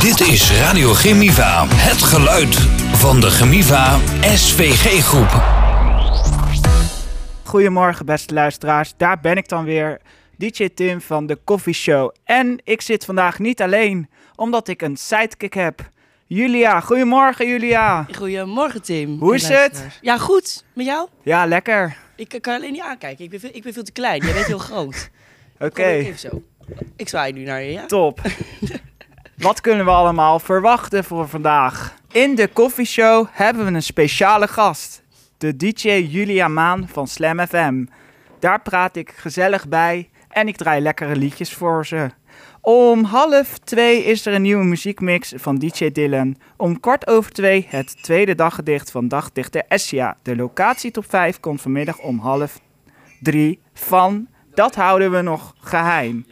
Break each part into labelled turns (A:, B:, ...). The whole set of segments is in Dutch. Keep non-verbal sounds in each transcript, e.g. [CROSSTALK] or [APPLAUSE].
A: Dit is Radio Gemiva. Het geluid van de Gemiva SVG groep.
B: Goedemorgen, beste luisteraars. Daar ben ik dan weer, DJ Tim van de Coffee Show. En ik zit vandaag niet alleen, omdat ik een sidekick heb. Julia, goedemorgen Julia.
C: Goedemorgen Tim.
B: Hoe is
C: En luisteraars. Ja, goed. Met jou?
B: Ja, lekker.
C: Ik eh, kan alleen niet aankijken. Ik ben veel, ik ben veel te klein. Jij bent
B: [LAUGHS]
C: heel groot.
B: Oké,
C: Probeer ik even zo. Ik zwaai nu naar je, ja?
B: top. Wat kunnen we allemaal verwachten voor vandaag? In de Coffee Show hebben we een speciale gast. De DJ Julia Maan van Slam FM. Daar praat ik gezellig bij en ik draai lekkere liedjes voor ze. Om half twee is er een nieuwe muziekmix van DJ Dylan. Om kwart over twee het tweede daggedicht van dagdichter Essia. De locatie top 5 komt vanmiddag om half drie van. Dat houden we nog geheim.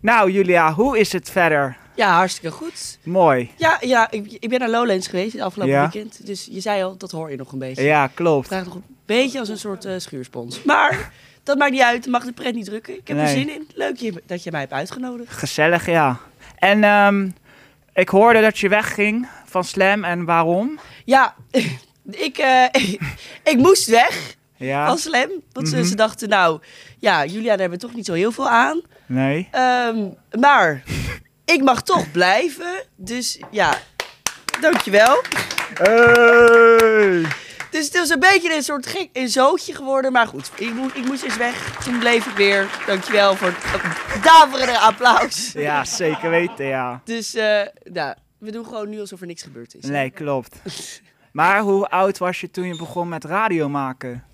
B: Nou Julia, hoe is het verder?
C: Ja, hartstikke goed.
B: Mooi.
C: Ja, ja ik, ik ben naar Lowlands geweest het afgelopen
B: Ja.
C: weekend. Dus je zei al, dat hoor je nog een beetje.
B: Ja, klopt.
C: Het nog een beetje als een soort eh, schuurspons. Maar dat maakt niet uit. Dat mag de pret niet drukken. Ik heb er
B: Nee.
C: zin in. Leuk je- dat je mij hebt uitgenodigd.
B: Gezellig, ja. En ehm, ik hoorde dat je wegging van Slam en waarom?
C: Ja, [LAUGHS] ik, eh, [LAUGHS] ik moest weg
B: Ja,
C: als slam. Want ze-
B: Mhm.
C: ze dachten, nou, ja, Julia, daar hebben we toch niet zo heel veel aan.
B: nee.
C: Ehm, maar ik mag toch blijven. Dus ja, dankjewel.
B: Hey!
C: Dus het was een beetje een soort gek een zootje geworden. Maar goed, ik, moest, ik moest eens weg. Toen bleef ik weer. Dankjewel voor het daverende applaus.
B: Ja, zeker weten, ja.
C: Dus eh, nou, we doen gewoon nu alsof er niks gebeurd is.
B: Nee, klopt. Maar hoe oud was je toen je begon met radio maken?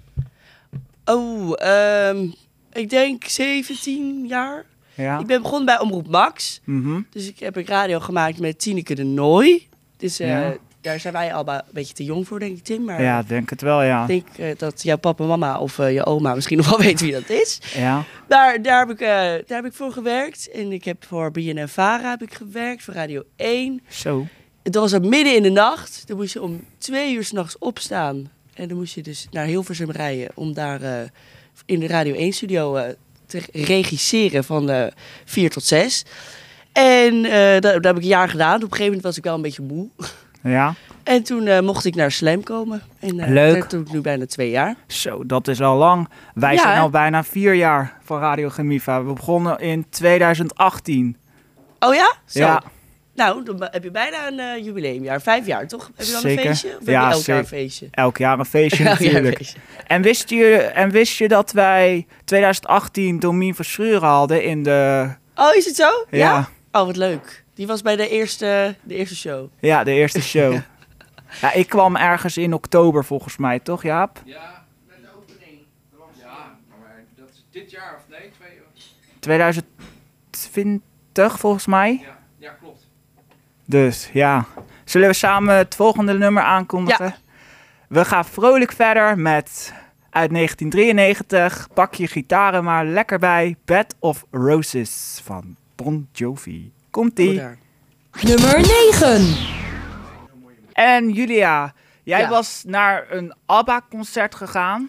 C: Oh, ehm, ik denk 17 jaar.
B: Ja?
C: Ik ben begonnen bij Omroep Max.
B: Mhm.
C: Dus ik heb een radio gemaakt met Tineke de Nooi. Dus eh,
B: Ja.
C: daar zijn wij allemaal een beetje te jong voor, denk ik, Tim. Maar
B: Ja, denk het wel, ja.
C: Ik denk eh, dat jouw papa, mama of eh, je oma misschien nog wel [LAUGHS] weten wie dat is.
B: Ja,
C: Daar, daar, heb ik, eh, daar heb ik voor gewerkt. En ik heb voor BNNVARA heb ik gewerkt, voor Radio 1.
B: zo.
C: Het was al midden in de nacht. Dan moest je om twee uur s'nachts opstaan. En dan moest je dus naar Hilversum rijden om daar eh, in de Radio 1-studio te regisseren van eh 4 tot 6. En eh, dat, dat heb ik een jaar gedaan. Op een gegeven moment was ik wel een beetje moe.
B: Ja,
C: En toen eh, mocht ik naar Slam komen. En, eh,
B: Leuk.
C: Dat doe ik nu bijna twee jaar.
B: zo, dat is al lang. Wij
C: Ja,
B: zijn
C: hè?
B: al bijna vier jaar van Radio Gemiva. We begonnen in 2018.
C: Oh ja? Zo.
B: Ja,
C: Nou, dan heb je bijna een eh, jubileumjaar. Vijf jaar, toch? Heb je dan
B: Zeker.
C: een feestje? Of
B: Ja,
C: heb je elk jaar
B: zeker.
C: een feestje?
B: elk jaar een feestje
C: [LAUGHS] Elk jaar een
B: natuurlijk.
C: feestje.
B: En wist, je, en wist je dat wij 2018 Domien Verschuren hadden in de...
C: Oh, is het zo?
B: Ja,
C: Ja.
B: ja?
C: Oh, wat leuk. Die was bij de eerste, de eerste show.
B: de eerste
D: [LAUGHS]
B: show. ja. ik kwam ergens in oktober volgens mij, toch Jaap?
D: Ja, met de opening. Ja, maar dat is dit jaar of nee, twee jaar.
B: 2020 volgens mij.
D: Ja, ja klopt.
B: Dus ja, zullen we samen het volgende nummer aankondigen? We gaan vrolijk verder met uit 1993. Pak je gitaren maar lekker bij. Bed of Roses van Bon Jovi.
C: Oh,
B: Komt-ie.
C: daar.
E: Nummer 9.
B: En Julia, jij
C: Ja.
B: was naar een ABBA-concert gegaan.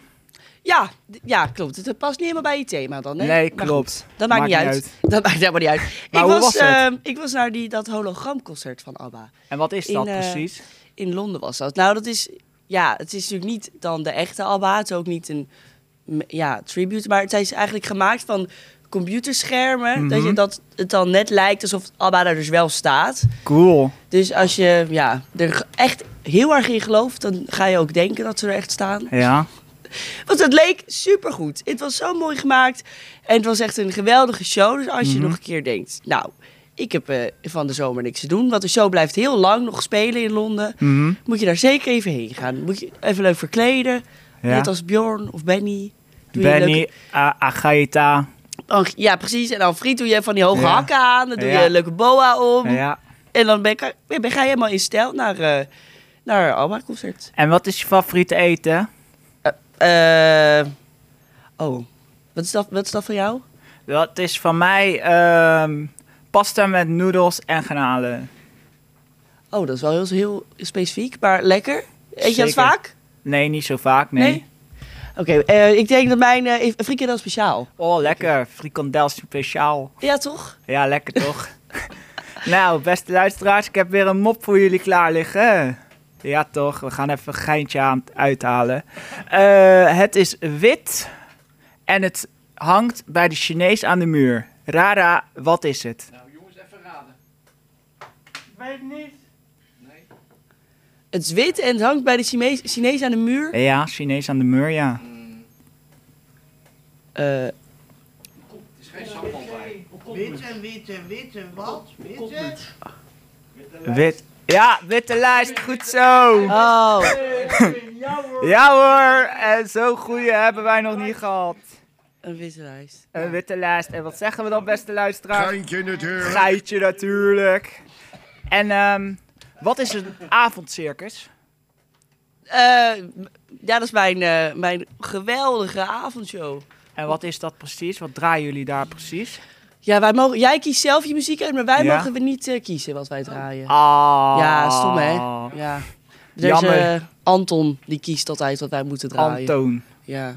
C: Ja, d- ja, klopt. Het past niet helemaal bij je thema dan, hè?
B: Nee,
C: Maar
B: klopt.
C: goed, dat maakt, niet uit. [LAUGHS] Dat maakt helemaal niet uit. ik,
B: hoe
C: was,
B: was het?
C: ehm, ik was naar die, dat hologramconcert van ABBA.
B: En wat is
C: In,
B: dat
C: eh,
B: precies?
C: In Londen was dat. Nou, dat is... Ja, het is natuurlijk niet dan de echte ABBA. Het is ook niet een m- ja, tribute. Maar het is eigenlijk gemaakt van computerschermen. Dat, je, dat het dan net lijkt alsof ABBA daar dus wel staat.
B: Cool.
C: Dus als je ja, er g- echt heel erg in gelooft... dan ga je ook denken dat ze er echt staan.
B: Ja.
C: Want het leek supergoed. Het was zo mooi gemaakt. En het was echt een geweldige show. Dus als je
B: Mhm.
C: nog een keer denkt... nou, ik heb eh, van de zomer niks te doen. Want de show blijft heel lang nog spelen in Londen.
B: Mhm.
C: Moet je daar zeker even heen gaan. Moet je even leuk verkleden.
B: Ja.
C: Net als Bjorn of Benny. Doe je
B: Benny,
C: leuke-
B: A- Agaeta.
C: Oh, ja, precies. En dan friet doe je van die hoge
B: Ja.
C: hakken aan. Dan doe
B: Ja.
C: je een leuke boa om.
B: Ja.
C: En dan ben, ik- ben- ben- ga je helemaal in stijl naar, eh naar Alma concert.
B: En wat is je favoriete eten?
C: Eh, eh, oh, wat is, dat, wat is dat van jou?
B: Dat is van mij ehm, pasta met noedels en granalen.
C: Oh, dat is wel heel, heel specifiek, maar lekker. Eet je
B: Zeker.
C: dat vaak?
B: Nee, niet zo vaak, nee.
C: Nee? Oké, eh, ik denk dat mijn uh, frikandel speciaal.
B: Oh, lekker. Frikandel speciaal.
C: Ja, toch?
B: Ja, lekker toch? [LAUGHS] Nou, beste luisteraars, ik heb weer een mop voor jullie klaar liggen. Ja, toch? We gaan even een geintje aan uithalen. Eh, het is wit en het hangt bij de Chinees aan de muur. Rara, wat is het?
D: Nou jongens, even raden.
B: Weet niet.
D: Nee?
C: Het is wit en het hangt bij de Chinees, Chinees aan de muur.
B: Ja, Chinees aan de muur, ja.
C: Eh,
D: Het is geen sambal bij.
F: Wit en wit en wit en wat? Wit en?
B: Wit. Ja, witte lijst, goed zo.
C: oh,
B: Ja hoor, en zo'n goede hebben wij nog niet gehad.
C: een witte lijst.
B: Een witte lijst. En wat zeggen we dan, beste luisteraar?
G: Geintje natuurlijk.
B: Geitje natuurlijk. En ehm, wat is een avondcircus?
C: Eh, ja, dat is mijn, eh, mijn geweldige avondshow.
B: En wat is dat precies? Wat draaien jullie daar precies?
C: Ja, wij mogen, jij kiest zelf je muziek uit, maar wij
B: Ja.
C: mogen we niet eh, kiezen wat wij draaien.
B: Ah.
C: Ja, stom hè? Ja. Er is,
B: Jammer.
C: eh, Anton, die kiest altijd wat wij moeten draaien.
B: Antoon.
C: Ja. eh,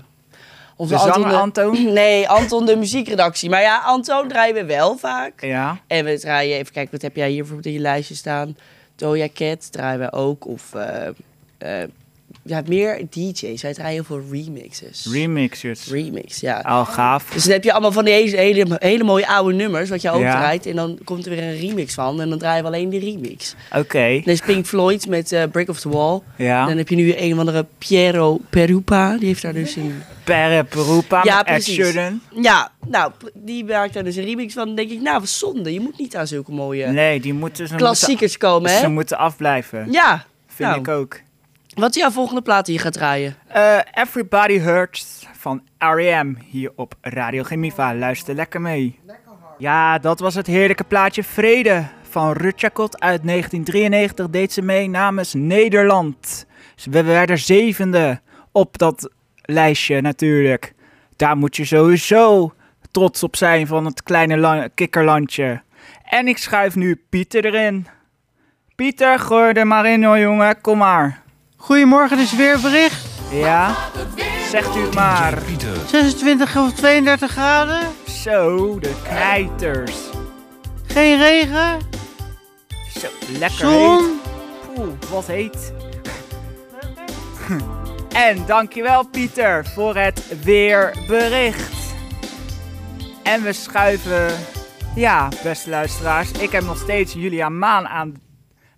C: Of
B: De zanger Antoon?
C: [LAUGHS] Nee, Anton de muziekredactie. Maar ja, Anton draaien we wel vaak.
B: Ja.
C: En we draaien, even kijken, wat heb jij hier bijvoorbeeld in je lijstje staan? Doja Cat draaien we ook. Of eh, eh, ja, meer DJ's. Wij draaien heel veel remixes.
B: Remixers.
C: Remix, ja.
B: Al Oh, gaaf.
C: Dus dan heb je allemaal van die hele, hele, hele mooie oude nummers, wat je ook
B: Ja.
C: draait. En dan komt er weer een remix van. En dan draaien we alleen die remix.
B: Oké.
C: Dan is Pink Floyd met eh, Break of the Wall. Dan
B: Ja.
C: heb je nu een of andere Piero Perupa. Die heeft daar dus een...
B: Perre Perupa
C: Ja,
B: met Ed
C: precies.
B: Sheeran.
C: Ja, nou, die maakt daar dus een remix van. Dan denk ik, nou, wat zonde. Je moet niet aan zulke mooie
B: Nee, die moeten ze, moeten,
C: klassiekers komen, hè?
B: ze moeten afblijven.
C: Ja.
B: Vind
C: nou,
B: ik ook.
C: Wat is jouw volgende plaat die je gaat draaien?
B: Eh, Everybody Hurts van R.E.M. hier op Radio Gemiva. Luister lekker mee. Ja, dat was het heerlijke plaatje Vrede van Rutjakot uit 1993. Deed ze mee namens Nederland. Ze- We werden zevende op dat lijstje natuurlijk. Daar moet je sowieso trots op zijn van het kleine la- kikkerlandje. En ik schuif nu Pieter erin. Pieter, gooi er maar in hoor jongen, kom maar.
F: Goedemorgen, dit is weer een bericht.
B: Ja, zegt u het maar.
F: 26 of 32 graden.
B: Zo, de knijters.
F: Geen regen.
B: Zo, lekker heet.
F: Zon.
B: Oeh, wat heet. [LAUGHS] En dankjewel Pieter voor het weerbericht. En we schuiven... Ja, beste luisteraars, ik heb nog steeds Julia Maan aan,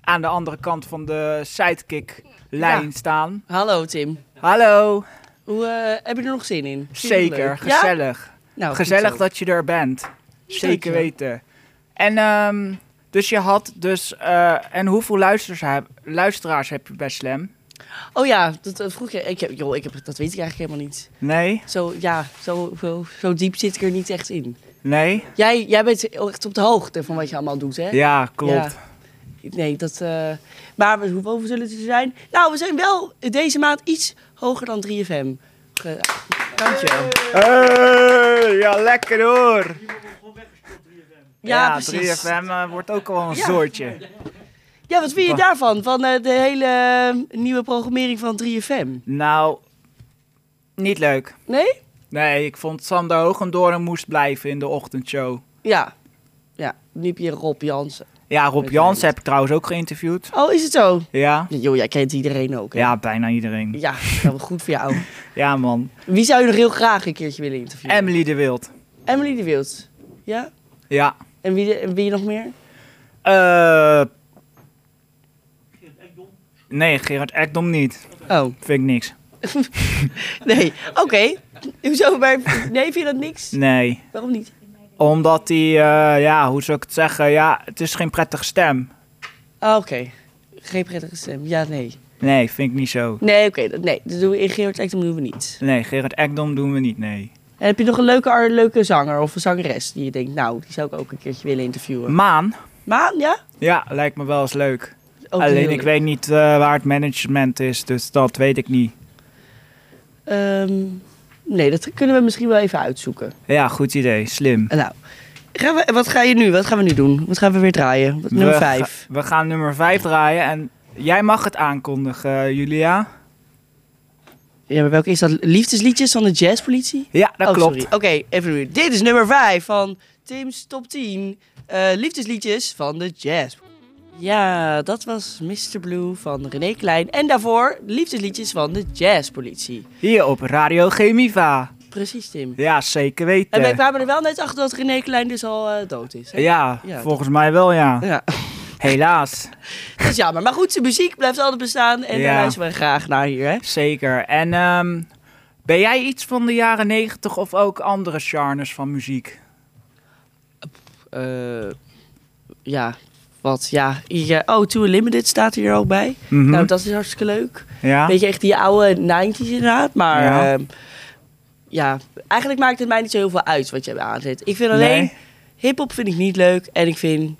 B: aan de andere kant van de sidekick-lijn
C: Ja.
B: staan.
C: Hallo, Tim.
B: Hallo,
C: Hoe, eh, heb je er nog zin in? Vind je het
B: zeker,
C: leuk? Ja?
B: gezellig.
C: Nou, goed
B: Gezellig
C: zo.
B: dat je er bent. Zeker
C: Dankjewel.
B: weten. En ehm, dus je had dus... eh, en hoeveel luisteraars heb, luisteraars heb je bij Slam?
C: Oh ja, dat, dat vroeg je. Ik heb, joh, ik heb, dat weet ik eigenlijk helemaal niet.
B: Nee?
C: Zo, ja, zo, zo, zo diep zit ik er niet echt in.
B: Nee?
C: Jij, jij bent echt op de hoogte van wat je allemaal doet, hè?
B: Ja, klopt.
C: Ja. Nee, dat... eh, maar we, hoeveel zullen het er zijn? Nou, we zijn wel deze maand iets hoger dan 3FM. Ge- Dankjewel.
B: Hey, ja, lekker hoor.
C: Ja, precies.
B: 3FM eh, wordt ook al een
C: Ja.
B: zoortje.
C: Ja, wat vind je daarvan? Van eh, de hele eh, nieuwe programmering van 3FM?
B: Nou, niet leuk.
C: Nee?
B: Nee, ik vond Sander Hoogendoorn moest blijven in de ochtendshow.
C: Ja. Ja, nu heb je Rob Jansen.
B: Ja, Rob
C: Met
B: Jans
C: mij.
B: heb ik trouwens ook geïnterviewd.
C: Oh, is het zo?
B: Ja?
C: Joh, jij kent iedereen ook, hè?
B: Ja, bijna iedereen.
C: Ja, nou, goed voor jou.
B: Ja, man.
C: Wie zou je nog heel graag een keertje willen interviewen?
B: Emily de Wild.
C: Emily de Wild. Ja?
B: Ja.
C: En wie, en wie nog meer?
B: Eh. Nee, Gerard Ekdom niet.
C: Oh,
B: Vind ik niks.
C: nee. Oké. Hoezo? Maar, nee, vind je dat niks?
B: Nee.
C: Waarom niet?
B: Omdat hij, eh, ja, hoe zou ik het zeggen? Ja, het is geen prettige stem.
C: Ah, Oké. Geen prettige stem. Ja, nee.
B: Nee, vind ik niet zo.
C: Nee, oké. dat nee, dat doen we in Geert Ekdom doen we niet.
B: Nee, Gerard Ekdom doen we niet, nee.
C: En heb je nog een leuke, ar- leuke zanger of een zangeres die je denkt, nou, die zou ik ook een keertje willen interviewen?
B: Maan?
C: Maan, ja?
B: Ja, lijkt me wel eens leuk.
C: Ook
B: Alleen
C: heel
B: ik
C: leuk.
B: weet niet eh, waar het management is, dus dat weet ik niet.
C: Ehm, nee, dat kunnen we misschien wel even uitzoeken.
B: Ja, goed idee. Slim.
C: Nou, gaan we, wat ga je nu? Wat gaan we nu doen? Wat gaan we weer draaien? Wat, nummer
B: We ga-
C: 5.
B: we gaan nummer 5 draaien en jij mag het aankondigen, eh, Julia.
C: Ja, maar welke is dat? Liefdesliedjes van de jazzpolitie?
B: Ja, dat
C: Oh,
B: klopt.
C: sorry. Oké, even nu. Dit is nummer 5 van Tim's Top 10. eh, liefdesliedjes van de jazz. Ja, dat was Mr. Blue van René Klein. En daarvoor liefdesliedjes van de jazzpolitie.
B: Hier op Radio Gemiva.
C: Precies, Tim.
B: Ja, zeker
C: En wij
B: weten.
C: kwamen er wel net achter dat René Klein dus al eh, dood is. Hè?
B: Ja,
C: Ja,
B: volgens mij wel, ja.
C: Ja.
B: Helaas.
C: Dat is jammer. Maar goed, zijn muziek blijft altijd bestaan. En
B: Ja.
C: daar luisteren we graag naar hier, hè?
B: Zeker. En ehm, ben jij iets van de jaren negentig of ook andere genres van muziek?
C: Eh, ja, wat, ja. ja. Oh, Too Limited staat hier ook bij.
B: Mhm.
C: Nou, dat is hartstikke leuk.
B: ja?
C: Weet je, echt die oude 90's inderdaad. Maar
B: Ja.
C: ja. ja, eigenlijk maakt het mij niet zo heel veel uit wat je aanzet. Ik vind alleen,
B: Nee.
C: hip-hop vind ik niet leuk. En ik vind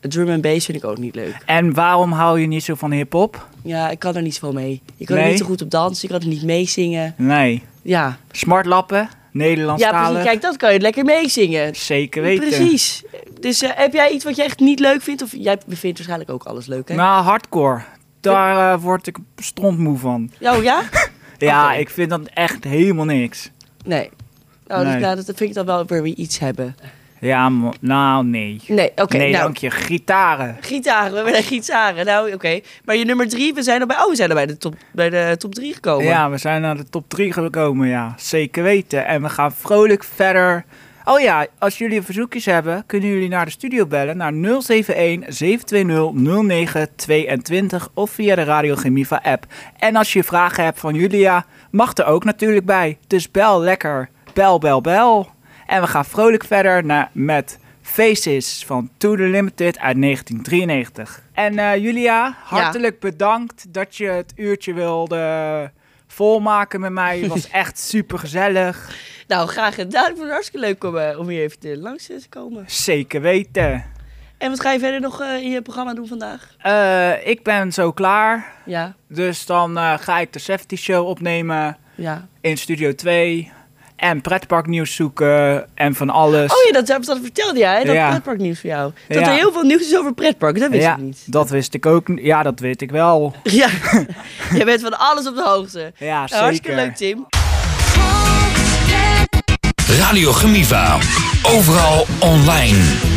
C: drum en bass vind ik ook niet leuk.
B: En waarom hou je niet zo van hip-hop?
C: Ja, ik kan er niet zoveel mee. Ik kan er
B: Nee?
C: niet zo goed op dansen. Ik kan er niet meezingen.
B: Nee.
C: Ja,
B: Smartlappen, Nederlandstalig.
C: ja precies. Kijk, dat kan je lekker meezingen.
B: Zeker weten.
C: Precies. Dus eh, heb jij iets wat je echt niet leuk vindt? Of jij vindt waarschijnlijk ook alles leuk, hè?
B: Nou, hardcore. Daar eh, word ik strontmoe van.
C: Oh ja?
B: Ja,
C: Oké.
B: ik vind dat echt helemaal niks.
C: Nee. Oh,
B: Nee.
C: Dus, nou, dat vind ik dan wel weer weer iets hebben.
B: Ja, mo- nou nee.
C: Nee, oké.
B: nee,
C: nou,
B: dank je. Gitaren.
C: Gitaren, we willen gitaren. Nou, oké. Maar je nummer drie, we zijn al bij, oh, we zijn al bij de top, bij de top drie gekomen.
B: Ja, we zijn naar de top 3 gekomen, ja. Zeker weten. En we gaan vrolijk verder. Oh ja, als jullie verzoekjes hebben, kunnen jullie naar de studio bellen naar 071-720-0922 of via de Radio Gemiva app. En als je vragen hebt van Julia, mag er ook natuurlijk bij. Dus bel lekker. Bel, bel, bel. En we gaan vrolijk verder naar, met Faces van To The Limited uit 1993. En eh, Julia, hartelijk bedankt dat je het uurtje wilde volmaken met mij. Het
C: [LAUGHS]
B: was echt super gezellig.
C: Nou, graag gedaan. Ik vond het hartstikke leuk om, eh, om hier even te- langs te komen.
B: Zeker weten.
C: En wat ga je verder nog eh, in je programma doen vandaag?
B: Eh, ik ben zo klaar.
C: Ja,
B: Dus dan eh, ga ik de safety show opnemen
C: ja.
B: in Studio 2. En pretparknieuws zoeken en van alles.
C: Oh ja, dat, dat vertelde jij, hè? dat
B: Dus- Ja.
C: pretparknieuws voor jou. Dat
B: Ja.
C: er heel veel nieuws is over pretparken, dat wist
B: ja,
C: ik niet. [LAUGHS]
B: dat wist ik ook. niet. Ja, dat weet ik wel. [LAUGHS]
C: Ja, je bent van alles op de hoogte.
B: Ja,
C: Nou, hartstikke
B: zeker.
C: leuk, Tim.
A: Radio Gemiva. Overal online.